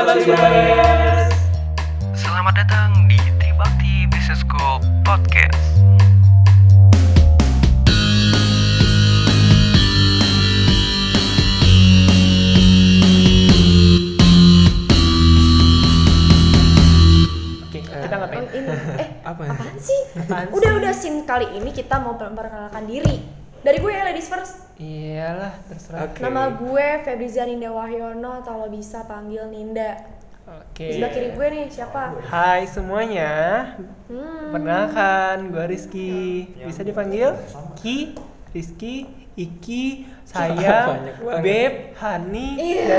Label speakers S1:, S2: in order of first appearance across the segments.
S1: Tribuners.
S2: Selamat datang di Tribakti Business School Podcast.
S3: Oke, kita ngapain?
S4: Oh, ini eh
S3: Apa?
S4: apaan sih?
S3: Apaan sih?
S4: udah udah sim kali ini kita mau memperkenalkan diri. Dari gue ya ladies first.
S3: Iyalah, terserah. Oke.
S1: Oke.
S4: Nama gue Febriza Ninda Wahyono atau lo bisa panggil Ninda.
S3: Iya.
S4: Di sebelah kiri gue nih siapa?
S3: Hai semuanya.
S4: Hmm.
S3: Perkenalkan, gua Rizky. Bisa dipanggil Ki, Rizky, Iki, saya,
S1: Banyak banget.
S3: Beb, Hani,
S4: Iya.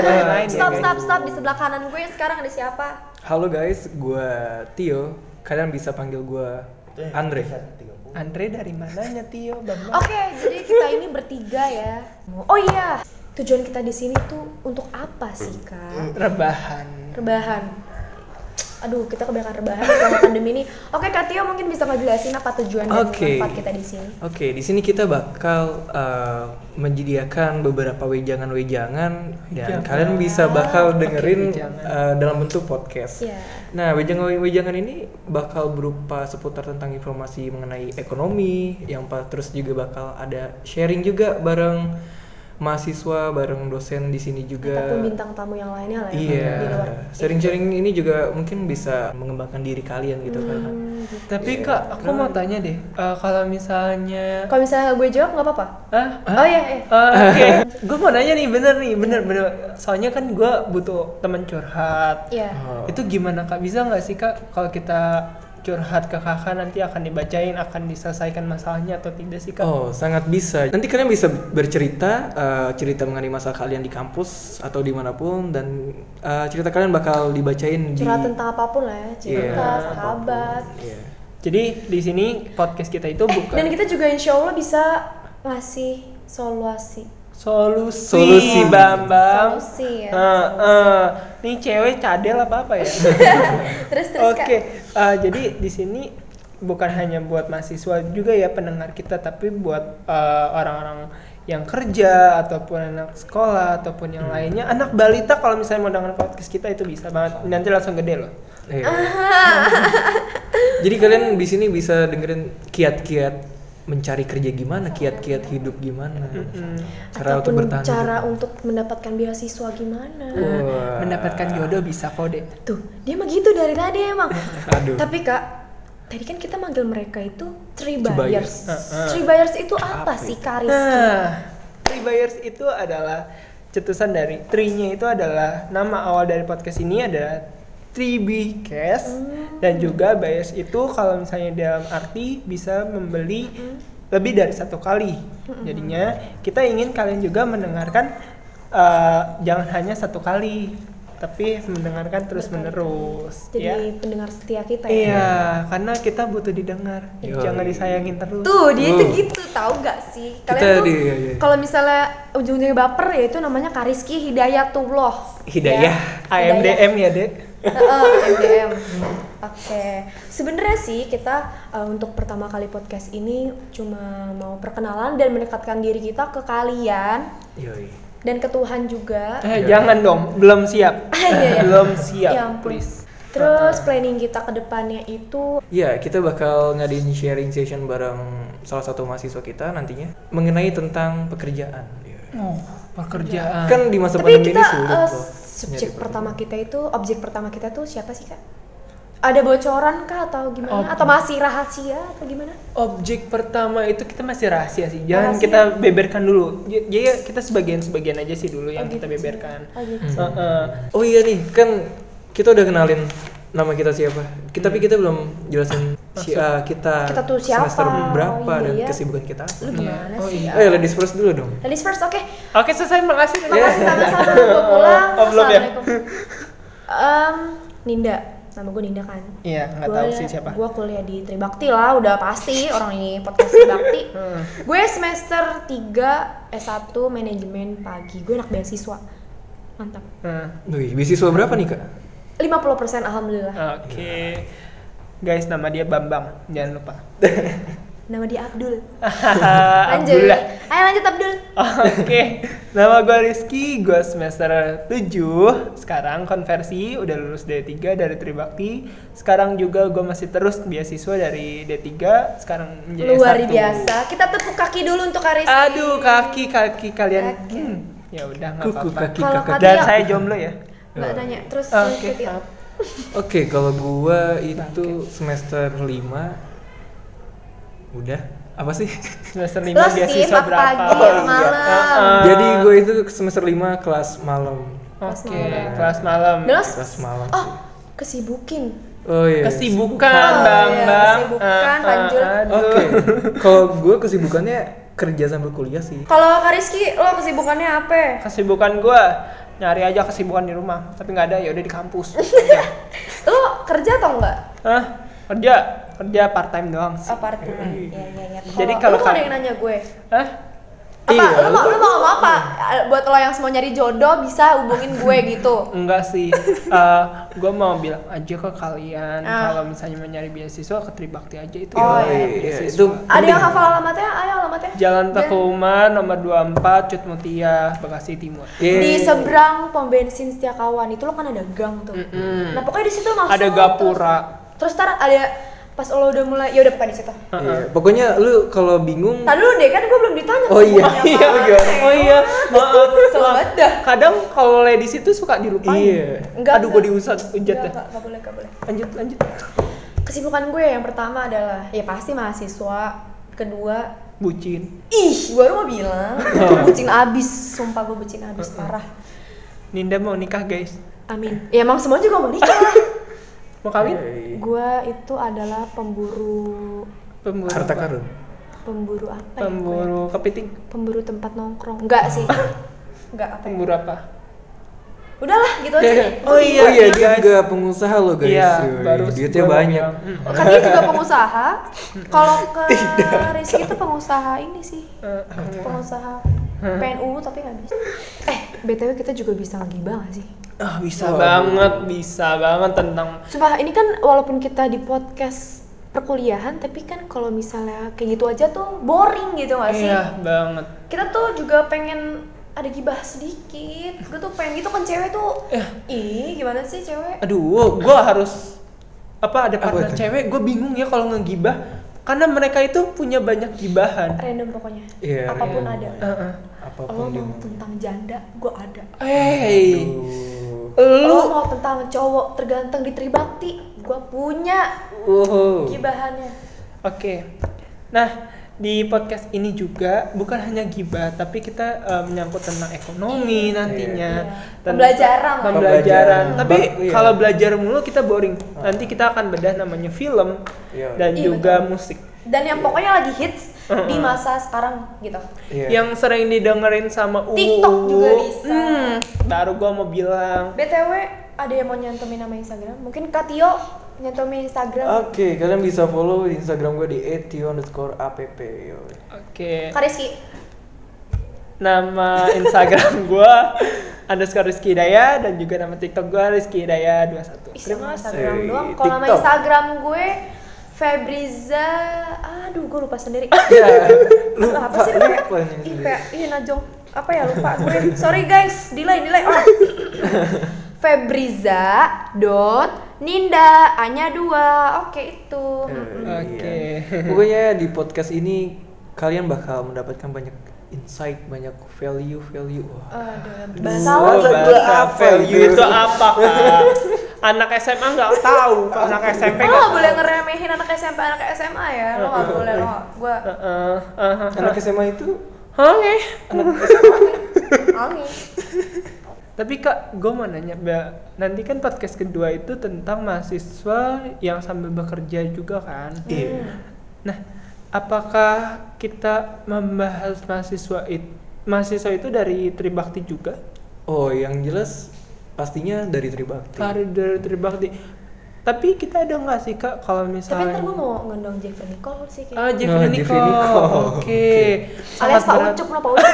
S3: dan lain-lain. ya,
S4: Stop
S3: guys.
S4: stop stop di sebelah kanan gue sekarang ada siapa?
S1: Halo guys, gue Tio. Kalian bisa panggil gue Andre.
S3: Andre dari mananya Tio? Bang?
S4: Oke, jadi kita ini bertiga ya. Oh iya, tujuan kita di sini tuh untuk apa sih kak?
S3: Rebahan.
S4: Rebahan. Aduh, kita kebanyakan rebahan selama pandemi ini. Oke, Kak Tio mungkin bisa ngejelasin apa tujuan dan
S1: Oke.
S4: manfaat kita di sini.
S1: Oke, di sini kita bakal eh, menyediakan beberapa wejangan-wejangan dan
S3: Wejangan.
S1: kalian bisa bakal dengerin
S3: Oke, wejangan.
S1: eh, dalam bentuk podcast.
S4: Iya.
S1: Nah, wejangan-wejangan ini bakal berupa seputar tentang informasi mengenai ekonomi, yang pa- terus juga bakal ada sharing juga bareng mahasiswa, bareng dosen di sini juga.
S4: ataupun bintang tamu yang lainnya lah ya
S1: Iya,
S4: di luar
S1: sharing-sharing ini juga mungkin bisa mengembangkan diri kalian gitu kan.
S3: Tapi
S4: Iya.
S3: kak, aku mau tanya deh, eh, kalau misalnya
S4: kalau misalnya gue jawab nggak apa-apa
S3: Hah?
S4: oh iya iya
S3: Eh, Oke, gue mau nanya nih, bener nih, bener bener. Soalnya kan gue butuh teman curhat.
S4: Iya.
S1: Oh.
S3: Itu gimana kak? Bisa nggak sih kak kalau kita curhat ke kakak nanti akan dibacain, akan diselesaikan masalahnya atau tidak sih
S4: Kan?
S3: kak?
S1: Oh, sangat bisa. Nanti kalian bisa bercerita, eh, cerita mengenai masalah kalian di kampus atau dimanapun, dan eh, cerita kalian bakal dibacain
S4: curhat
S1: di.
S4: tentang apapun lah ya cinta
S1: Oh. Iya,
S4: sahabat
S1: Iya.
S3: Jadi di sini podcast kita itu
S4: eh dan
S3: bukan
S4: kita juga insya Allah bisa ngasih solusi
S3: solusi,
S1: Solusi. Ah.
S3: Bambang.
S4: solusi ya
S3: Eh, eh, nih cewek cadel apa apa ya?
S4: terus terus
S3: Oke,
S4: kak
S3: eh, jadi di sini bukan hanya buat mahasiswa juga ya pendengar kita, tapi buat eh, orang-orang yang kerja ataupun anak sekolah ataupun yang lainnya, anak balita kalau misalnya mau dengar podcast kita itu bisa banget. Nanti langsung gede loh.
S1: Iya.
S4: Ah.
S1: Jadi kalian di sini bisa dengerin kiat-kiat mencari kerja gimana, kiat-kiat hidup gimana, cara untuk
S4: ataupun
S1: bertahan.
S4: cara
S1: hidup.
S4: untuk mendapatkan beasiswa gimana
S1: Wah.
S3: Mendapatkan jodoh bisa kode.
S4: tuh dia mah gitu dari tadi emang
S1: Aduh.
S4: tapi kak tadi kan kita manggil mereka itu three
S1: Three
S4: buyers
S3: buyers. Heeh.
S4: three buyers itu apa sih kak Rizky?
S3: Nah, three buyers itu adalah cetusan dari three-nya itu adalah nama awal dari podcast ini adalah Tribi Cash dan juga buyers itu kalau misalnya dalam arti bisa membeli lebih dari satu kali. Jadinya kita ingin kalian juga mendengarkan eh, jangan hanya satu kali, tapi mendengarkan terus menerus.
S4: jadi
S3: ya.
S4: pendengar setia kita ya
S3: Iya, karena kita butuh didengar,
S1: Yoi.
S3: jangan disayangin terus.
S4: tuh dia itu
S1: Wow.
S4: gitu tahu gak sih
S1: Kita
S4: kalian tuh
S1: di- iya, iya.
S4: kalau misalnya ujung-ujungnya baper ya itu namanya Kariski Hidayatullah
S1: Hidayah.
S4: Hidayah.
S3: AMDM ya, Dek.
S4: Heeh, MDM oke sebenarnya sih kita eh, untuk pertama kali podcast ini cuma mau perkenalan dan mendekatkan diri kita ke kalian
S1: Yoi.
S4: dan ke Tuhan juga
S3: Eh, jangan dong, belum siap.
S4: Ah, iya, iya.
S3: belum siap,
S4: Ya ampun.
S3: please. Nah,
S4: Terus planning kita ke depannya itu
S1: Ya, kita bakal ngadain sharing session bareng salah satu mahasiswa kita nantinya mengenai tentang pekerjaan. Iya.
S3: Oh, pekerjaan.
S1: Kan di masa
S4: tapi
S1: pandemi
S4: kita
S1: ini sulit
S4: eh,
S1: loh.
S4: subjek pertama kita itu objek pertama kita tuh siapa sih kak? Ada bocoran kah atau gimana?
S3: Ob-
S4: Atau masih rahasia atau gimana?
S3: objek pertama itu kita masih rahasia sih. Jangan
S4: Rahasia.
S3: kita beberkan dulu. J- Jadi ya kita sebagian-sebagian aja sih dulu yang
S4: Oh,
S3: kita
S4: gitu.
S3: beberkan. eh.
S4: Oh, gitu.
S3: Heeh.
S1: Oh iya nih, kan kita udah kenalin nama kita siapa. Kita tapi kita belum jelasin si- eh, kita,
S4: Hmm. Kita tuh siapa,
S1: semester berapa
S4: oh iya
S1: dan
S4: ya.
S1: kesibukan kita. apa.
S4: Lu gimana
S3: Oh,
S4: sih?
S3: iya.
S1: Oh ya, ladies first dulu dong.
S4: Ladies first, oke.
S3: Oke, selesai. Makasih.
S4: Makasih sama-sama gue pulang.
S3: Oh, belum ya?
S4: Assalamualaikum. Em, Ninda, nama gue Ninda kan.
S3: Iya, nggak tahu sih siapa.
S4: Gue kuliah di Tribakti lah, udah pasti orang ini podcast Tribakti.
S3: Hmm.
S4: gue semester 3 S1 manajemen pagi. Gue anak beasiswa. Mantap.
S3: Hmm.
S1: Wih, beasiswa berapa nih, Kak?
S4: 50% alhamdulillah.
S3: Oke. Guys, nama dia Bambang. Jangan lupa.
S4: Nama dia Abdul. Lanjut.
S3: Alhamdulillah.
S4: Ayo lanjut Abdul.
S3: Oke, nama gue Rizky, gue semester 7 Sekarang konversi, udah lulus D3 dari Tribakti Sekarang juga gue masih terus beasiswa dari D3 Sekarang menjadi
S4: Luar
S3: S1.
S4: biasa. Kita tepuk kaki dulu untuk Aris.
S3: Aduh, kaki-kaki kalian
S4: Kaki.
S3: Hmm, Ya udah, nggak
S1: Kuku
S3: apa-apa
S1: kaki
S4: Kalau
S1: kakak.
S4: kata-
S3: Dan
S4: Iya.
S3: saya jomblo ya
S4: Mbak nanya terus
S3: Ah, Oke,
S4: lanjut, ya.
S3: maaf.
S1: Oke, kalau gua itu semester 5 udah apa sih?
S3: Eh. semester 5
S4: Lo sih
S3: beasiswa
S4: pagi,
S3: berapa? Oh, iya.
S4: malam.
S3: Ah.
S1: Jadi gue itu semester 5 kelas malam.
S3: Oke,
S4: Kelas
S3: kelas malam
S4: Belas.
S1: Kelas malam
S4: Oh, kesibukin.
S1: Oh iya.
S3: Kesibukan,
S4: Oh,
S3: Bang,
S4: iya,
S3: Bang
S4: kesibukan,
S3: Ah, ah,
S4: Panjul.
S1: Oke.
S3: aduh.
S1: Kalau gue kesibukannya kerja sambil kuliah sih.
S4: Kalau Kak Rizky, lo kesibukannya apa?
S3: Kesibukan gue nyari aja kesibukan di rumah, tapi nggak ada ya udah di kampus.
S4: Lo kerja atau enggak?
S3: Hah? Kerja, kerja part time doang sih.
S4: Apa artinya? Iya, iya, iya.
S3: Jadi
S4: Kalau
S3: kalau
S4: lo ada
S3: Kak-
S4: yang nanya gue.
S3: Hah?
S4: Apa?
S1: Iya,
S4: lo, mau, lo mau ngomong apa? Eh, Buat lo yang semua nyari jodoh bisa hubungin gue gitu.
S3: Enggak sih. Eh, gue mau bilang aja ke kalian
S4: Ah.
S3: kalau misalnya mau nyari beasiswa ke Tribakti aja itu.
S4: Oh,
S3: ya,
S4: iya,
S1: iya,
S3: beasiswa.
S1: itu
S4: Ada yang
S1: penting.
S4: hafal alamatnya? Ayo alamatnya.
S3: Jalan Takuma nomor 24 Cut Mutia Bekasi Timur.
S1: Yeay.
S4: di seberang pom bensin Setiakawan itu lo kan ada gang tuh.
S3: Mm-mm.
S4: Nah pokoknya di situ langsung
S3: Ada
S4: terus-
S3: gapura.
S4: Terus, tar ada pas lo udah mulai ya udah pokoknya di situ.
S1: Iya, Pokoknya lu kalau bingung Iya,
S4: Tadi dulu deh kan gue belum ditanya.
S1: Oh iya,
S4: kesimpulannya
S1: iya,
S4: apa.
S1: gimana?
S3: Oh iya, maaf.
S4: Kesel banget dah.
S3: Kadang kalau ladies itu suka dilupain.
S1: Iya.
S4: Enggak,
S3: Aduh, gue
S4: enggak.
S3: diusat
S4: Enggak,
S3: ujat dah.
S4: enggak, enggak boleh, enggak boleh.
S3: Lanjut, lanjut.
S4: Kesibukan gue yang pertama adalah ya pasti mahasiswa. Kedua,
S3: Bucin.
S4: ih baru mau bilang itu
S3: Oh.
S4: bucin abis, sumpah gue bucin abis parah.
S3: Ninda mau nikah, guys.
S4: Amin. Ya emang semua juga mau nikah.
S3: Mau kawin?
S1: Yeay.
S4: gue itu adalah pemburu
S3: Pemburu.
S1: harta
S3: apa?
S1: karun.
S4: pemburu apa ya gue?
S3: Pemburu kepiting.
S4: pemburu tempat nongkrong enggak sih enggak apa ya.
S3: Pemburu apa?
S4: udahlah gitu aja deh
S3: Oh iya,
S1: oh iya dia
S3: guys.
S1: juga pengusaha lo guys.
S3: Iya,
S1: Yoi,
S3: baru gua
S1: duitnya
S3: mau
S1: banyak.
S3: bilang. Hmm.
S4: kan dia juga pengusaha kalau ke Rizky itu pengusaha ini sih
S3: Eh,
S4: pengusaha PNU tapi nggak bisa eh btw kita juga bisa ngegibah gak sih
S3: Ah, bisa
S1: Waduh.
S3: banget, bisa banget tentang
S4: coba ini kan walaupun kita di podcast perkuliahan tapi kan kalau misalnya kayak gitu aja tuh boring gitu gak sih
S3: iya banget.
S4: kita tuh juga pengen ada gibah sedikit gue tuh pengen gitu kan cewek tuh
S1: Iya.
S4: ih gimana sih cewek
S3: Aduh, gua harus apa ada
S1: Apa
S3: partner
S1: itu?
S3: cewek? Gue bingung ya kalau ngegibah karena mereka itu punya banyak gibahan.
S4: random pokoknya
S1: Iya,
S4: apapun
S1: random.
S4: ada
S3: Heeh.
S1: Apapun
S4: lo
S1: dia
S4: mau
S1: mau.
S4: tentang janda gue ada
S3: Oh, Hey,
S1: Aduh.
S4: lo
S3: lu
S4: mau tentang cowok terganteng di Tribakti gue punya
S1: Wow.
S4: gibahannya
S3: Oke. Nah, di podcast ini juga bukan hanya gibah, tapi kita eh, menyangkut tentang ekonomi
S1: Ya.
S3: nantinya,
S4: Iya.
S3: tentang
S4: Pembelajaran
S3: Pembelajaran.
S4: lah.
S1: Pembelajaran.
S3: Tapi
S1: Bang, iya.
S3: kalau belajar mulu kita boring. Nanti kita akan bedah namanya film
S1: Iya.
S3: dan
S4: Iya,
S3: juga musik.
S4: dan yang pokoknya lagi hits di masa sekarang gitu
S1: Iya.
S3: Yang sering didengerin sama UU.
S4: TikTok juga bisa.
S3: Hmm, baru gua mau bilang
S4: btw ada yang mau nyantumin nama Instagram mungkin Katio nyantumin Instagram
S1: Oke, kalian bisa follow di Instagram gue di @tio_app. Yoi.
S3: Oke,
S4: Kak Rizky
S3: nama Instagram gua underscore Rizky Hidayah dan juga nama TikTok gua Rizky Hidayah 21.
S4: Ih,
S3: Terima kasih.
S4: sama Instagram
S1: kasih.
S4: doang. Kalau nama
S1: TikTok.
S4: Instagram gue Febriza, aduh gue lupa sendiri.
S3: Iya.
S1: Ya,
S4: Aduh, apa sih
S1: lupa
S4: namanya?
S1: ini
S4: IP,
S1: sendiri.
S4: iya Najong. Apa ya lupa gue. Sorry guys, delay delay. Oh. Febriza dot Ninda Anya dua. Oke itu. Mm-mm.
S1: Eh,
S3: Oke.
S1: iya. Pokoknya di podcast ini kalian bakal mendapatkan banyak insight, banyak value-value. Wah.
S4: Aduh,
S1: Bahasa
S4: bahasa apa?
S1: apa? apa
S3: value
S1: itu?
S3: itu apa kak? Anak SMA nggak tahu, Kak. anak SMP
S4: Lo
S3: nggak
S4: gak Oh, boleh ngeremehin anak SMP, anak SMA ya. Lo gak boleh, lo gak- gue
S3: Heeh, heeh.
S1: Anak SMA itu
S3: Uh-uh, uh-huh. Oke.
S4: angin.
S3: Tapi kak, gue mau nanya, Mbak. nanti kan podcast kedua itu tentang mahasiswa yang sambil bekerja juga kan?
S4: Hmm.
S1: Iya.
S3: Nah, apakah kita membahas mahasiswa itu mahasiswa itu dari Tribakti juga?
S1: Oh, yang jelas pastinya dari Tribakti.
S3: Dari, dari Tribakti. Tapi kita ada nggak sih kak kalau
S4: Tapi ntar
S3: misalnya?
S4: gue mau ngundang Jennifer Nicole sih kayaknya.
S3: Ah,
S1: Oh,
S3: Jeffrey Nicole.
S1: Jeffrey Nicole.
S3: Oke.
S4: Alias
S3: Sangat
S4: Pak
S3: berat.
S4: Ucup, no Pak Ucup.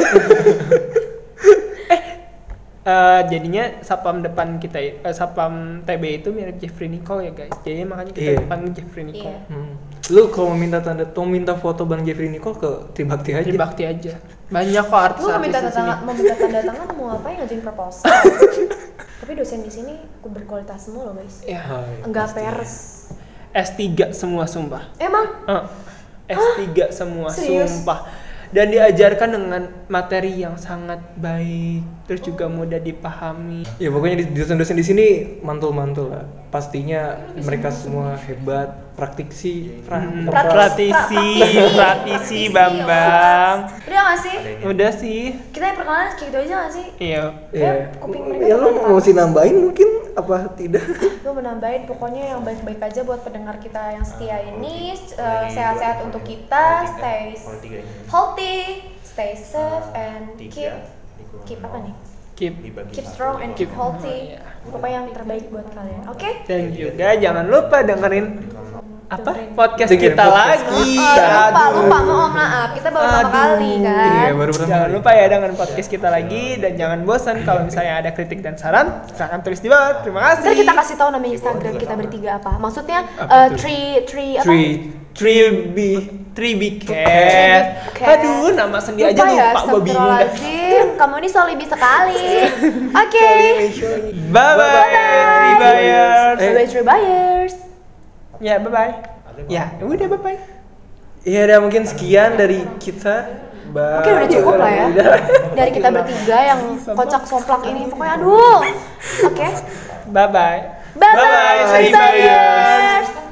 S3: Eh, jadinya sapam depan kita, eh, sapam TB itu mirip Jeffrey Nicole ya guys. Jadi makanya kita
S1: Iya.
S3: dipanggil Jeffrey Nicole.
S4: Iya.
S1: Hmm. Lu kalau mau minta tanda, mau minta foto Bang Jeffrey Nicole ke Tribakti aja.
S3: Bakti aja. Banyak kok
S4: Lu mau
S3: artis-artis
S4: minta
S3: di sini.
S4: tanda tangan, mau minta tanda tangan mau ngapain ngajuin proposal? Tapi dosen di sini berkualitas semua loh guys.
S3: Ya.
S1: Hai.
S4: Enggak pers.
S3: S3 semua sumpah.
S4: Emang
S3: Eh, S3 semua,
S4: Serius?
S3: sumpah. Dan diajarkan dengan materi yang sangat baik, terus juga mudah dipahami.
S1: Ya pokoknya di- dosen-dosen di sini mantul-mantul lah. Pastinya mereka semua hebat, praktiksi, pra,
S4: Praktis.
S3: Pratisi, pratisi Bambang.
S4: Iya, udah nggak sih?
S3: Udah sih.
S4: Kita yang perkenalan kayak gitu aja nggak sih?
S3: Iya.
S1: Ya,
S4: Eh, kuping mereka
S1: ya lu
S4: terbatas.
S1: mau sih nambahin mungkin apa tidak?
S4: Gue mau nambahin pokoknya yang baik-baik aja buat pendengar kita yang setia ini eh, sehat-sehat untuk kita, stay healthy, stay safe and keep Ah, keep apa nih?
S3: Keep.
S4: Keep strong and keep healthy.
S3: Iya.
S4: Pokoknya yang terbaik buat kalian. Oke?
S3: Dan juga jangan lupa dengerin apa
S4: Dengerin.
S3: podcast
S1: Dengerin
S3: kita
S1: podcast.
S3: lagi.
S4: Oh, lupa,
S3: Aduh.
S4: lupa, Oh, mohon maaf. Kita baru pertama
S3: Aduh.
S4: kali kan.
S1: Iya, baru pertama
S3: Jangan
S1: kali. Iya.
S3: lupa ya dengan podcast kita lagi dan jangan bosan kalau misalnya ada kritik dan saran silahkan tulis di bawah. Terima kasih.
S4: Ntar kita kasih tahu nama Instagram kita bertiga apa. Maksudnya eh, three three apa?
S1: Three,
S3: Three B Three B
S4: Cat.
S3: Cat. Aduh nama sendiri aja
S4: ya,
S3: lupa gue bingung dah.
S4: astagfirullahaladzim. Kamu ini solibi sekali. Oke.
S3: Bye bye Three Buyers.
S4: Bye
S1: Eh.
S4: bye, buyers.
S3: Ya bye bye. Ya udah bye bye.
S1: Iya, ada mungkin sekian dari kita. Bye.
S4: Oke udah cukup lah ya dari kita bertiga yang kocak somplak ini pokoknya aduh oke
S3: Bye bye.
S4: bye bye,
S3: Three Buyers.